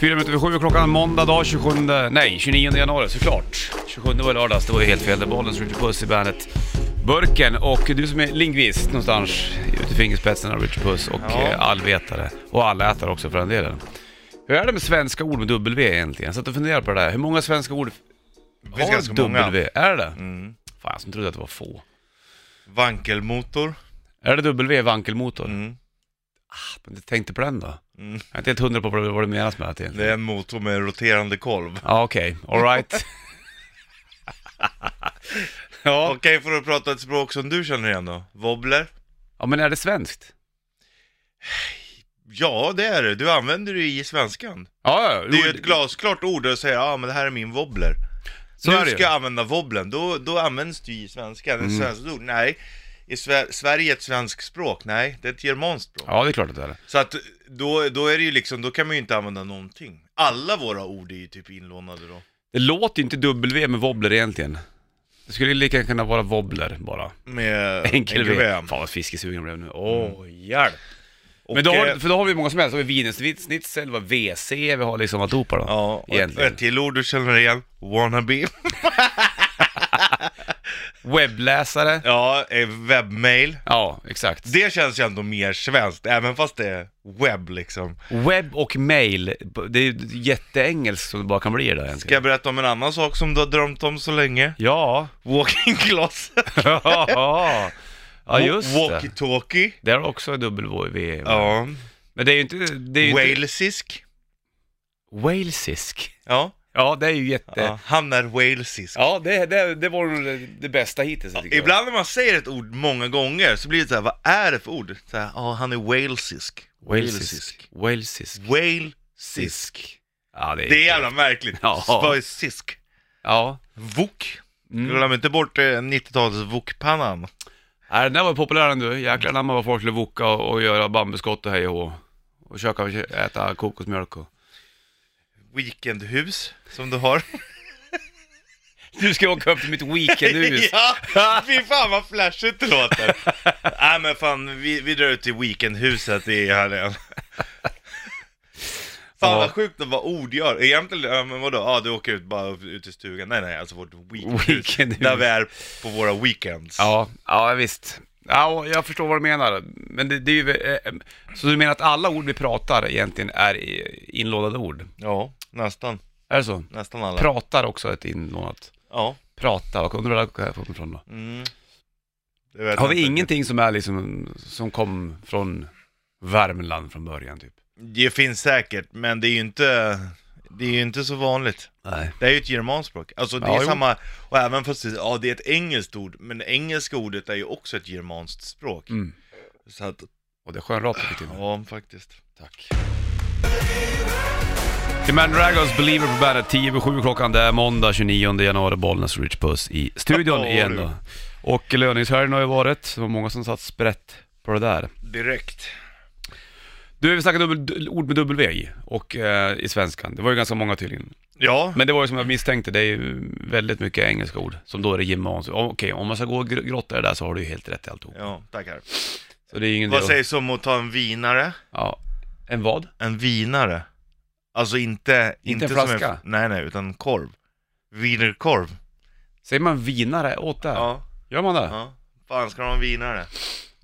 Fyra minuter över sju klockan måndag dag 27, nej 29 januari såklart. 27 var lördags, det var ju helt fel. Det bollen som Richard Puss i bandet Burken och du som är lingvist någonstans ute i fingerspetsen av Richard Puss och Ja. eh, allvetare och allätare också för den delen. Hur är det med svenska ord med W egentligen? Så att du funderar på det där. Hur många svenska ord Det finns har ganska många. W? Är det det? Mm. Fan, jag som trodde att det var få. Vankelmotor. Är det W vankelmotor? Ah, Mm. Men jag tänkte på den då. Mm. Jag är inte helt hundra på vad det menas med att egentligen. Det är en motor med roterande kolv. Ja, okej. All Alright. ja. Okej, får du prata ett språk som du känner igen då? Wobbler? ja, men är det svenskt? Ja, det är det. Du använder det i svenskan. Ja, ja. Det är ju ett glasklart ord att säga, ja ah, men det här är min wobbler. Så nu är det ju. Mm. ska jag använda wobblen, då, då används det ju i svenskan. Ett svenskt ord, nej. I Sver- Sverige ett svenskt språk? Nej, det är ett germanskt språk. Ja, det är klart att det är det. Så att då, då är det ju liksom, då kan man ju inte använda någonting. Alla våra ord är ju typ inlånade då. Det låter ju inte W med wobbler egentligen. Det skulle ju lika gärna kunna vara wobbler bara. Med Enkel V. enkel-VM. Fan vad fiskesugen jag blev nu. Åh, hjälp! Och, Mm. Men då har, eh, för då har vi många som helst. Då har vi wienerschnitzel, vi har WC, vi har liksom alltihopa då. Ja, och ett, egentligen. ett till ord du känner igen, wannabe. Webbläsare. Ja, eh, webbmail. Ja, exakt. Det känns ju ändå mer svenskt, även fast det är webb liksom. Webb och mail, det är ju jätteengelskt som det bara kan bli det där egentligen. Ska jag berätta om en annan sak som du har drömt om så länge? Ja. Walking closet. ja, just det. Walkie-talkie. Det är också W. Ja. Men det är ju inte... Det är ju Inte... Walesisk. Walesisk. Ja. Ja, det är ju jätte... ja. Ja, Han är walesisk. det, det, det var nog det- det bästa hittills. jag tycker. Ibland när man säger ett ord många gånger så blir det så här, vad är det för ord? Så här, ja, han är walesisk. Walesisk. Walesisk. Walesisk. Sisk. Ja, det är... Det är jävla märkligt. Ja. Svajsisk. Ja. Vok. Mm. Glöm inte bort eh, 90-talets vokpannan. Nej, Äh, den där var populär ändå. Jäklar anamma vad folk skulle voka och, och göra bambuskott och hej och hå. Och köka och kö- äta kokosmjölk och... Weekendhus som du har. Du ska åka upp till mitt weekendhus. ja, fy fan vad flashigt det låter. Nej men fan, vi, vi drar ut till weekendhuset i helgen. Fan Ja. vad sjukt att vad ord gör. Egentligen, ja, men vadå? Ja, du åker ut bara ut i stugan. Nej, nej, alltså vårt weekendhus. Weekendhus. Där vi är på våra weekends. Ja, ja visst. Ja, och jag förstår vad du menar. Men det, det är ju, eh, så du menar att alla ord vi pratar egentligen är i- inlånade ord? Ja, nästan. Är det så? Nästan alla. Pratar också är ett inlånat. ja. Prata, och undrar var det kommer ifrån då? Mm. Det vet Har jag vi inte. ingenting som är liksom, som kom från Värmland från början typ? Det finns säkert, men det är ju inte, det är ju inte så vanligt. Nej. Det är ju ett germanskt språk. Alltså det Ja, är jo. samma, och även fast det, ja, det är ett engelskt ord, men det engelska ordet är ju också ett germanskt språk. Mm. Så att, Och det är skönrap tycker jag. ja faktiskt. Tack. Demand Dragons Believer på bandet, 10 över 7 klockan. Det är måndag 29 januari, Bollnäs och Rich Puss i studion Ja, igen du. då. Och löningshelgen har ju varit, det var många som satt sprätt på det där. Direkt. Du, vi snackade dubbel, ord med W i, och eh, i svenskan. Det var ju ganska många tydligen. Ja, Men det var ju som jag misstänkte, det är ju väldigt mycket engelska ord, som då är det germanskt. Om- Okej, om man ska gå och gr- grotta i det där så har du ju helt rätt i alltihop. ja tackar. Så det är ju ingen Vad del- sägs om att ta en vinare? Ja. En vad? En vinare? Alltså inte... Inte en som flaska? nej, nej, utan korv. Wienerkorv. Säger man vinare åt det? Ja. Gör man det? ja. Fan, ska de ha en vinare?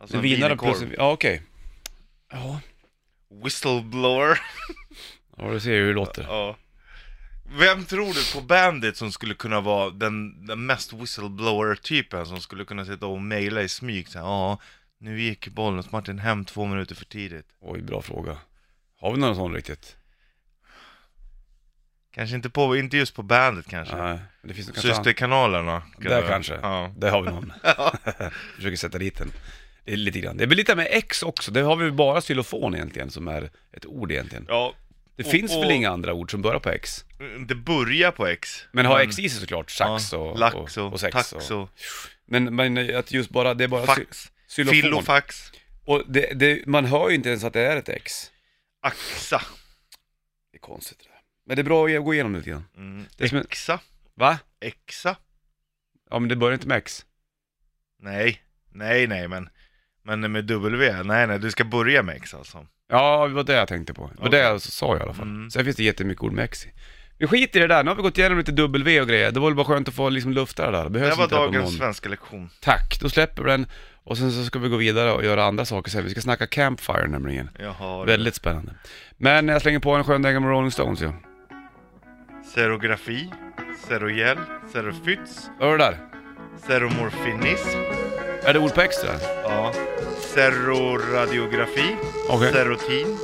Alltså en en vinare plus wienerkorv. en... Ja, okej. Ja. Whistleblower. Ja, du ser ju hur det låter. Ja. Vem tror du på Bandit som skulle kunna vara den, den mest whistleblower-typen som skulle kunna sitta och mejla i smyg såhär, ja, nu gick bollen Martin hem två minuter för tidigt. Oj, bra fråga. Har vi någon sån riktigt? Kanske inte på, inte just på Bandit kanske. Nej. Men det finns nog kanske... an- Systerkanalerna. Där kanske. Eh, Ja. Där har vi någon. Försöker sätta dit den. Det är lite grann. Det blir lite med X också. Det har vi ju bara xylofon egentligen som är ett ord egentligen. ja. Det och- finns väl och- inga andra ord som börjar på X? Det börjar på X. Men har X i sig såklart, sax ja, och, Lax och, och, och sex. tax och... och, Men, men att just bara, det är bara sy- fax. xylofon. Filofax. Och det, det, man hör ju inte ens att det är ett X. Axa. Det är konstigt det där. Men det är bra att gå igenom det lite grann. Mm. Det är som en- Exa. Va? Exa. Ja men det börjar inte med X. Nej. Nej, nej men. Men med W, nej nej, du ska börja med X alltså. Ja, det var det jag tänkte på. Det var Okej. det jag sa i alla fall. Mm. Sen finns det jättemycket ord med X i. Vi skiter i det där, nu har vi gått igenom lite W och grejer. Det var väl bara skönt att få liksom lufta det där. Det Det behövs här var inte det på dagens någon. svenska lektion. Tack, då släpper vi den och sen så ska vi gå vidare och göra andra saker sen. Vi ska snacka Campfire nämligen. Jaha, det- Väldigt spännande. Men jag slänger på en skön dänga med Rolling Stones ja. serografi, serogel, serofyts, Hör du det där? seromorfinism, Är det ord på X det där? ja, seroradiografi, Okej. serotin,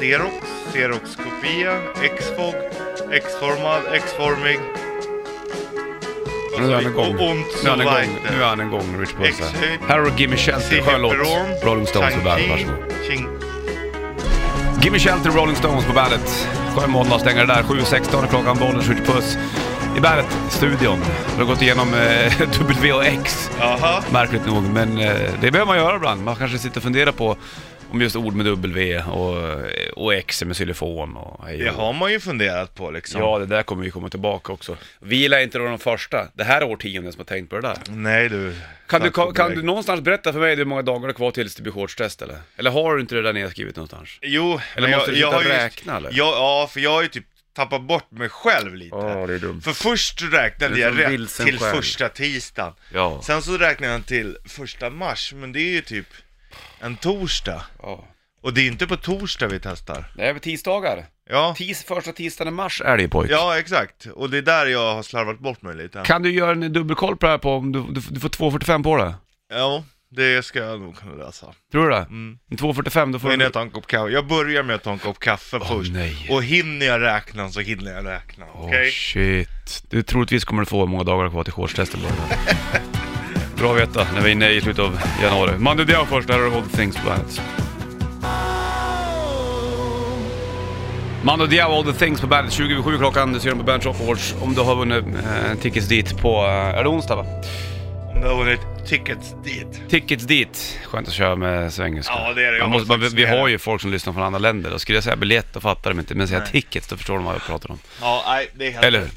serox, seroxkopia, exfog, exformad, exformig. Och Nu så är han vid- igång. Alltså, Och ont Nu är så han igång, weiter. nu är han igång Rich Puss här. Exhöjd. Här har du Gimme Shelter, skön låt. Ciferon, Rolling Stones på bandet, Chang-Chi, varsågod. Ching- Gimme Shelter, Rolling Stones på bandet. Skön måndag, stänger det där. 7.16 är klockan, bollen skjuter puss. I bandet-studion. Vi har gått igenom eh, W och X, Jaha. märkligt nog. Men eh, det behöver man göra ibland. Man kanske sitter och funderar på om just ord med W och, eh, och X är med xylofon och hej och- Det har man ju funderat på liksom. Mm. Ja, det där kommer vi komma tillbaka också. Vila inte då de första. Det här är årtionden som har tänkt på det där. Nej du. Kan du, Tack kan, och kan belägg. du någonstans berätta för mig hur många dagar det är kvar tills det blir shortstest eller? Eller har du inte det där nedskrivet någonstans? Jo, Eller men måste du sitta har och ju- räkna, eller? Jag, ja, för jag har ju typ tappat bort mig själv lite. det är dumt. För först Du räknade är jag som rätt vilsen till själv. första tisdagen. Ja. Sen så räknade jag till första mars, men det är ju typ en torsdag. ja. Och det är inte på torsdag vi testar. Det är väl tisdagar? Ja, Tis, första tisdagen i mars är det ju pojk. ja exakt. Och det är där jag har slarvat bort mig lite. Kan du göra en dubbelkoll på det här på om du, du, du får 2.45 på det? Ja, det ska jag nog kunna lösa. Tror du det? Mm. En 2.45 då får Och innan du... jag tar en kopp kaffe. Jag börjar med att ta en kopp kaffe Åh, först. nej. Och hinner jag räkna så hinner jag räkna. Okej? Åh shit. Du troligtvis kommer du få många dagar kvar till shortstesten då. Bra att veta när vi är inne i slutet av januari. Mandy Diao först, där har du All Things på bandet. Mando Diao, All The Things på bandet. 27 klockan, du ser dem på Bernt Awards. Om du har vunnit eh, tickets dit på, eh, är det onsdag va? Om det har vunnit tickets dit. Tickets dit. Skönt att köra med svengelska. Ja, det är det. Jag Man måste, har man, vi faktiskt med har det. ju folk som lyssnar från andra länder. Då skulle jag säga biljett, då fattar de inte. Men säga Nej. tickets, då förstår de vad jag pratar om. Ja, nej, det är helt Eller hur?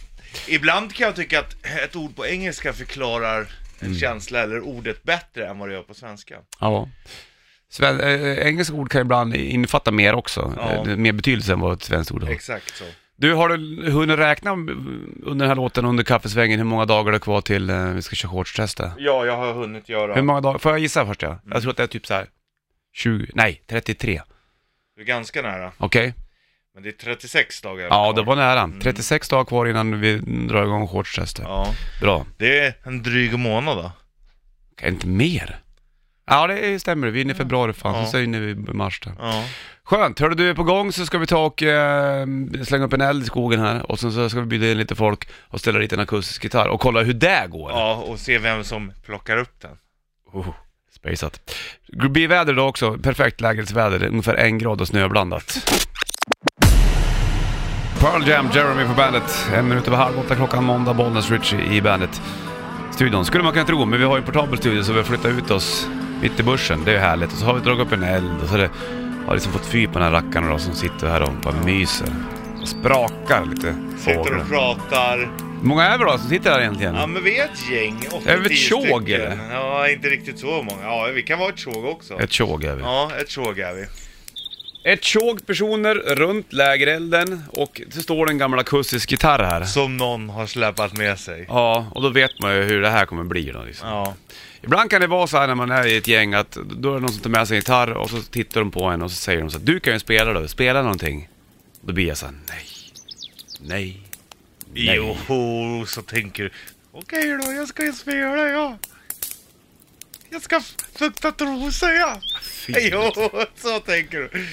Ibland kan jag tycka att ett ord på engelska förklarar en känsla eller ordet bättre än vad det gör på svenska. Mm. Ja. Sven, eh, engelska ord kan ibland innefatta mer också. Ja. Eh, det är mer betydelse än vad ett svenskt ord har. Exakt så. Du, har du hunnit räkna eh, under den här låten, under kaffesvängen, hur många dagar det är kvar till eh, vi ska köra shortstestet? Ja, Mm. jag har hunnit Hur göra. många dagar? Får jag gissa först? Ja? Jag tror att det är typ så här 20, nej 33. Du är ganska nära. Okej? Men det är 36 dagar Ja, kvar. det var nära. 36 dagar kvar innan vi drar igång shortstestet. Mm. Ja, Bra. det är en dryg månad då. Kan inte mer? Ja, det stämmer. Vi är inne i februari fan, Ja. sen så är vi inne i mars där. Ja. Skönt, hörru du är på gång så ska vi ta och eh, slänga upp en eld i skogen här och sen så ska vi bjuda in lite folk och ställa dit en akustisk gitarr och kolla hur det går. ja, och se vem som plockar upp den. Oh, spaceat. Det blir väder idag också, perfekt lägesväder, ungefär en grad och snöblandat. Pearl Jam, Jeremy på bandet. En minut över halv åtta klockan måndag, Bollnäs Richie i bandet. Studion skulle man kunna tro, men vi har ju en portabel studio så vi har flyttat ut oss mitt i börsen. Det är ju härligt. Och så har vi dragit upp en eld och så har det har liksom fått fyr på den här rackaren då som sitter här och bara myser. Och sprakar lite Sitter fåglar. och pratar. Hur många är vi då som sitter här egentligen? Ja, men vi är ett gäng. Ofta Är vi ett tio tjog, stycken. eller? Ja, inte riktigt så många. Ja, vi kan vara ett tjog också. Ett tjog är vi. Ja, ett tjog är vi. Ett tjog personer runt lägerelden och så står det en gammal akustisk gitarr här. Som någon har släpat med sig. Ja, och då vet man ju hur det här kommer bli då liksom. Ja. Ibland kan det vara så här när man är i ett gäng att då är det någon som tar med sig en gitarr och så tittar de på en och så säger de så här, du kan ju spela då, spela någonting. Då blir jag så här, nej, nej, nej. Jo, så tänker du. Okej då, jag ska spela ja. Jag ska f- fukta trosor ja. Fy. Jo, så tänker du.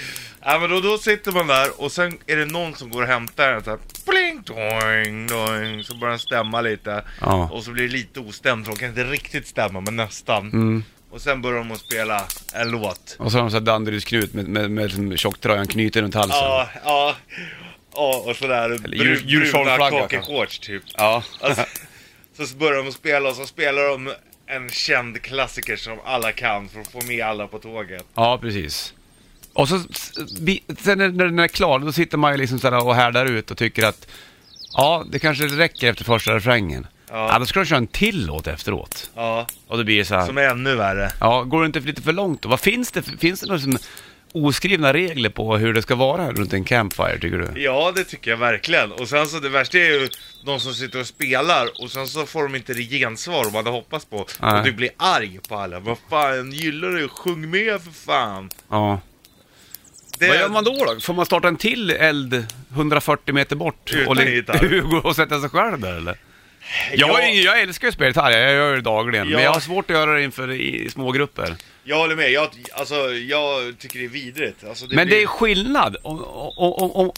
Ja men då, då sitter man där och sen är det någon som går och hämtar en så här. Pling, doing, doing. Så börjar den stämma lite. Ja. Och så blir det lite ostämt, för de kan inte riktigt stämma men nästan. Mm. Och sen börjar de att spela en låt. Och så har de så här Danderydsknut med, med, med liksom tjocktröjan knuten runt halsen. Ja, ja. Ja, och sådär bru, djur- bruna djursholmflagga, kakelshorts typ. ja. Alltså, så börjar de spela och så spelar de en känd klassiker som alla kan för att få med alla på tåget. Ja, precis. Och så, s- vi- sen när när den är klar, då sitter man ju liksom sådär och härdar ut och tycker att ja, det kanske räcker efter första refrängen. Ja, Ja, då ska de köra en till låt efteråt. ja. Och då blir det så här. Som är ännu värre. Ja, går det inte lite för långt då? Vad finns det? för- Finns det några liksom oskrivna regler på hur det ska vara runt en campfire, tycker du? Ja, det tycker jag verkligen. Och sen så det värsta är ju de som sitter och spelar och sen så får de inte det gensvar de hade hoppats på. Nej. Och du blir arg på alla. Vad fan, gillar du? Sjung med för fan! Ja. Det, Vad gör man då, då? Får man starta en till eld 140 meter bort? Utan och li- gitarr. gå och sätta sig själv där eller? Jag, Jag- är ingen- jag älskar ju att spela gitarr, jag gör det dagligen. Ja. Men jag har svårt att göra det inför i små grupper. Jag håller med, jag, alltså, jag tycker det är vidrigt. Alltså, det Men blir... det är skillnad. Om, om, om, om,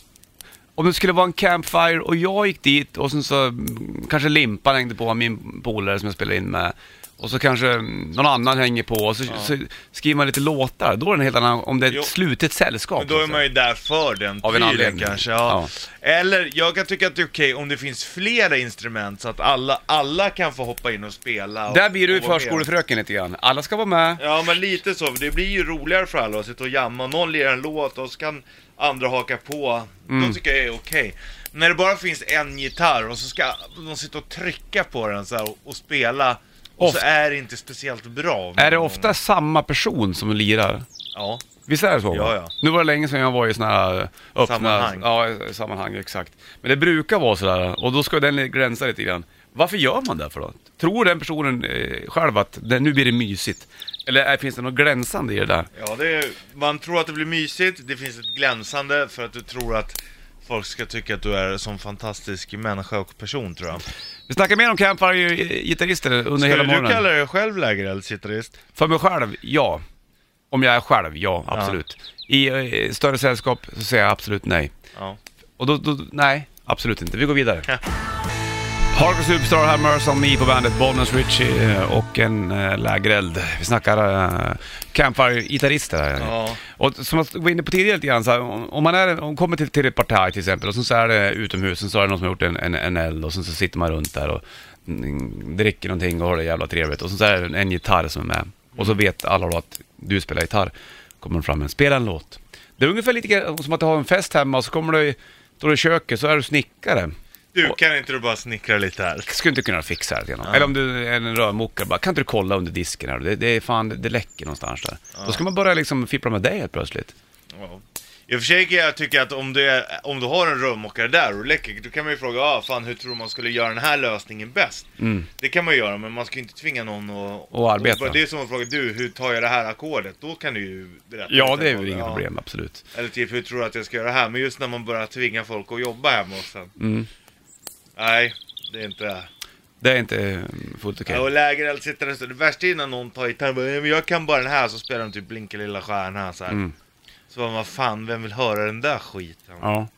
om det skulle vara en campfire och jag gick dit och sen så mm, kanske Limpan hängde på, min polare som jag spelade in med. Och så kanske mm, någon annan hänger på och så, så skriver man lite låtar. Då är det en helt annan, om det är ett Jo. slutet sällskap. liksom. Men då så är att man ju där för den alltså. Av en prylen anledning. kanske. Ja. Eller, jag kan tycka att det är okej om det finns flera instrument så att alla, alla kan få hoppa in och spela. säga. Och, Där blir du ju och vara med. förskolefröken lite grann. Alla ska vara med. Ja men lite så, det blir ju roligare för alla att sitta och jamma, någon lirar en låt och så kan andra haka på. Mm. Då tycker jag det är okej. När det bara finns en gitarr och så ska de sitta och trycka på den så här och, och spela, och Oft- så är det inte speciellt bra. Är det ofta samma person som lirar? Ja. Visst är det så? va? Ja, ja. Nu var det länge sedan jag var i sådana här eh, öppna... Sammanhang. Ja, i sammanhang, exakt. Men det brukar vara sådär, och då ska den gränsa lite grann. Varför gör man det för då? Tror den personen eh, själv att det, nu blir det mysigt? Eller är, finns det något glänsande i det där? Ja, det är, man tror att det blir mysigt, det finns ett glänsande för att du tror att folk ska tycka att du är en sån fantastisk människa och person tror jag. Vi snackar mer om campfire-gitarrister under hela Skulle du morgonen. kalla dig själv lägereldsgitarrist? För mig själv, ja. Om jag är själv, ja, absolut. I eh, större sällskap så säger jag absolut nej. Ja. Och då, då, nej, absolut inte. Vi går vidare. Harker Superstar här, Merce on Me på bandet, Bollnäs Richie eh, och en äh, lägereld. Vi snackar äh, campfire-gitarrister här. Ja. Och som jag var inne på tidigare lite grann, så här, om, om man är, om man kommer till, till ett parti till exempel och sen så är det utomhus, sen så är det någon som har gjort en, en, en eld och sen så sitter man runt där och mm, dricker någonting och har det jävla trevligt. Och sen så är det en, en gitarr som är med. Och så vet alla då att du spelar gitarr. Kommer de fram med en, spela en låt. Det är ungefär lite grann som att du har en fest hemma och så kommer du, står du i köket så är du snickare. Du, kan inte du bara snickra lite här? Skulle inte kunna fixa det genom. Eller om du är en rörmokare, bara, kan inte du kolla under disken här? Det, det är fan, det, det läcker någonstans där. Då ska man börja liksom fippla med dig helt plötsligt. Ja. I och för sig kan jag tycka att om du, är, om du har en rörmokare där och läcker, då kan man ju fråga ah, fan, hur tror man skulle göra den här lösningen bäst? Det kan man ju göra, men man ska ju inte tvinga någon att... Mm. Och arbeta. det är som att fråga du, hur tar jag det här ackordet? Då kan du ju berätta. Ja, lite det är om väl inga Ja. problem, absolut. Eller typ, hur tror du att jag ska göra det här? Men just när man börjar tvinga folk att jobba hemma och sen... Mm. Nej, det är inte... Det är inte eh, fullt okej. Ja, och lägereld sitter där, så det värsta är när någon tar gitarren och bara, "Nej, men jag kan bara den här, så spelar de typ Blinka lilla stjärna så här. Så bara, vad fan, vem vill höra den där skiten? Mm. Ja.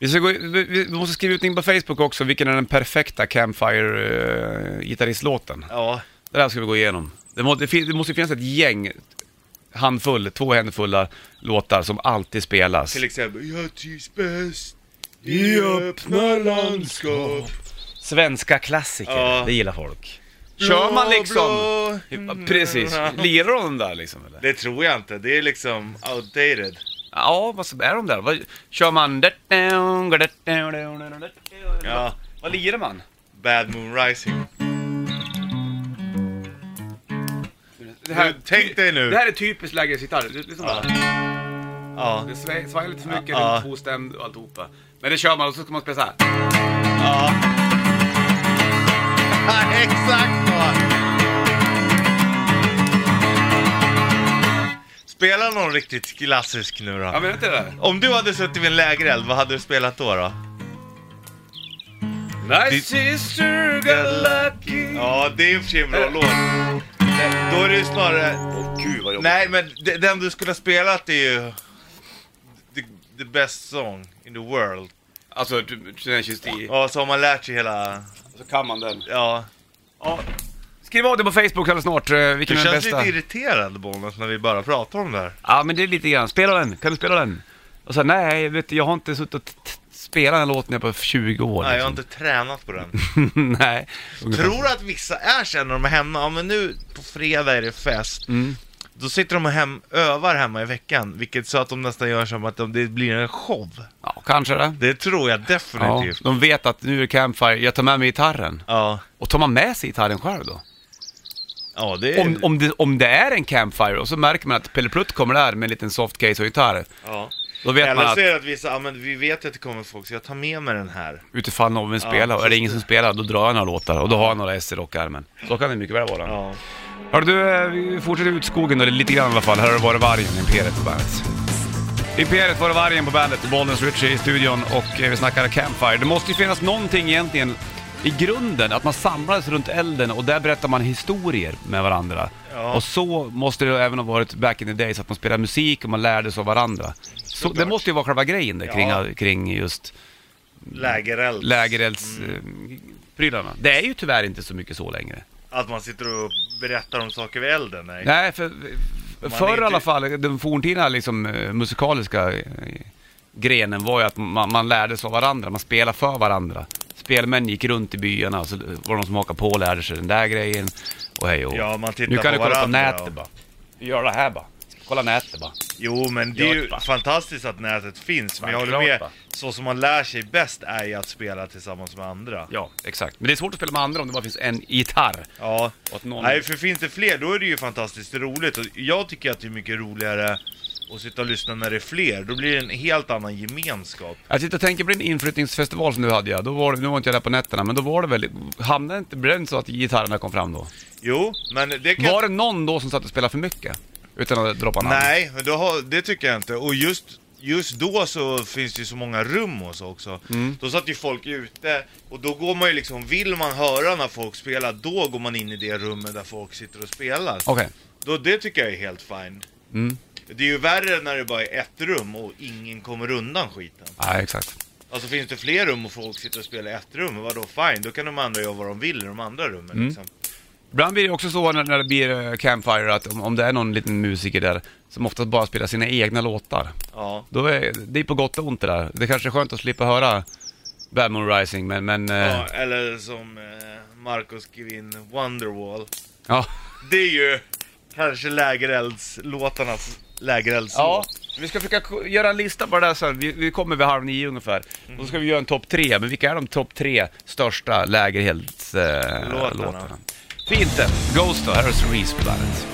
Vi, ska gå, vi, vi måste skriva ut in på Facebook också, vilken är den perfekta Campfire-gitarristlåten? Ja, det där ska vi gå igenom. Det måste, det fin- det måste finnas ett gäng, handfull, två händefulla låtar som alltid spelas. till exempel, jag trivs bäst i öppna landskap. Svenska klassiker, Ja. det gillar folk. Kör man liksom... Ja, Blå, blå. Precis, lirar de den där liksom eller? Det tror jag inte, det är liksom outdated. Ja, vad så- är de där? Vad, kör man... Ja, Vad lirar man? Bad Moon Rising. Det Du, tänk dig nu. Det här är typiskt lägesgitarr. Det, det, är sån Ja. där. Ja, det svä- svajar lite för mycket, Ja. det är ostämd och alltihopa. Men det kör man och så ska man spela så här. ja. Ja, Exakt så. Spela någon riktigt klassisk nu Ja då. men inte det där? Om du hade suttit vid en lägereld, vad hade du spelat då? då? My sister got lucky. Ja, det är i och för sig en bra Eh. låt. Då är det ju snarare... Åh gud vad jobbigt. Nej, men de- den du skulle ha spelat är ju... The, the best song in the world. Alltså, du- du- den känns i. Ja, så har man lärt sig hela... Så kan man den. Ja. Ja. Skriv av det på Facebook alldeles snart, eh, Du vilken är den känns bästa? lite irriterad, Bollnäs, när vi bara pratar om det här. Ja, men det är lite grann. Spela den. Kan du spela den? Och så nej, jag vet, jag har inte suttit och t- t- spelat den här låten på 20 år. Nej, jag har liksom. inte tränat på den. nej. Mm. Tror du att vissa är så här när de är hemma? Ja, men nu på fredag är det fest. Då sitter de och hem, övar hemma i veckan, vilket så att de nästan gör som att de, det blir en show. Ja, kanske det. Det tror jag Ja, definitivt. Ja. de vet att nu är det campfire, jag tar med mig gitarren. Ja, Och tar man med sig gitarren själv då? det är... Om, om, det, om det är en campfire och så märker man att Pelle Plutt kommer där med en liten softcase och gitarr. ja. Då vet man Eller att så är det att vissa, ja men vi vet att det kommer folk, så jag tar med mig den här. utifall någon vill spela, och är det precis. ingen som spelar, då drar jag några låtar och då har jag några S i rockärmen. Så kan det mycket väl vara. Ja. Hörru du, eh, vi fortsätter ut skogen då, lite grann i alla fall. Här har du Var det vargen, Imperiet på bandet. Imperiet var det vargen på bandet, Bollnäs Ritchie i studion och eh, vi snackar Campfire. Det måste ju finnas någonting egentligen i grunden, att man samlades runt elden och där berättar man historier med varandra. Ja. Och så måste det även ha varit back in the days, att man spelade musik och man lärde sig av varandra. Så, det måste ju vara själva grejen där kring, Ja. kring just Lägereld. lägereldsprylarna. Det är ju tyvärr inte så mycket så längre. Att man sitter och berättar om saker vid elden, nej. Nej, för, Man är förr i inte- alla fall, den forntida liksom, eh, musikaliska eh, grenen var ju att man, man lärde sig av varandra, man spelade för varandra. Spelmän gick runt i byarna, så var det någon som hakade på och lärde sig den där grejen. Och hej och. Ja, man tittar Nu kan på du kolla på varandra nätet och- bara. Gör det här bara. Kolla nätet bara. Jo, men det är ju Ja, va. fantastiskt att nätet finns, men jag håller Självklart, med. va. Så som man lär sig bäst är ju att spela tillsammans med andra. Ja, exakt. Men det är svårt att spela med andra om det bara finns en gitarr. Ja. Och att någon... Nej, för finns det fler, då är det ju fantastiskt roligt. Och jag tycker att det är mycket roligare att sitta och lyssna när det är fler. Då blir det en helt annan gemenskap. Jag sitter och tänker på din inflyttningsfestival som du hade ja. Då var det, nu var inte jag där på nätterna, men då var det väl, hamnade inte, blev det inte så att gitarrerna kom fram då? Jo, men det kan... Var det någon då som satt och spelade för mycket? Utan att droppa namn? Nej, men då har, det tycker jag inte. Och just, just då så finns det ju så många rum och så också. Mm. Då satt ju folk ute och då går man ju liksom, vill man höra när folk spelar, då går man in i det rummet där folk sitter och spelar. Okej. Då, det tycker jag är helt fine. Mm. Det är ju värre när det bara är ett rum och ingen kommer undan skiten. Nej, exakt. Alltså finns det fler rum och folk sitter och spelar i ett rum, vadå fine, då kan de andra göra vad de vill i de andra rummen liksom. Ibland blir det också så när, när det blir eh, Campfire att om, om det är någon liten musiker där som oftast bara spelar sina egna låtar. Ja. Då är, det är på gott och ont det där. Det kanske är skönt att slippa höra Bad Moon Rising men... men eh, ja. Eller som eh, Marcus skrev in, Wonderwall. ja. Det är ju kanske lägereldslåtarnas Ja, lägereldslåt. vi ska försöka k- göra en lista på det där sen. Vi, vi kommer vid halv nio ungefär. Då ska vi göra en topp tre, men vilka är de topp tre största lägerhets... Eh, Låtarna. låtarna? Fint det! Ghost då, här är Cerise på bandet.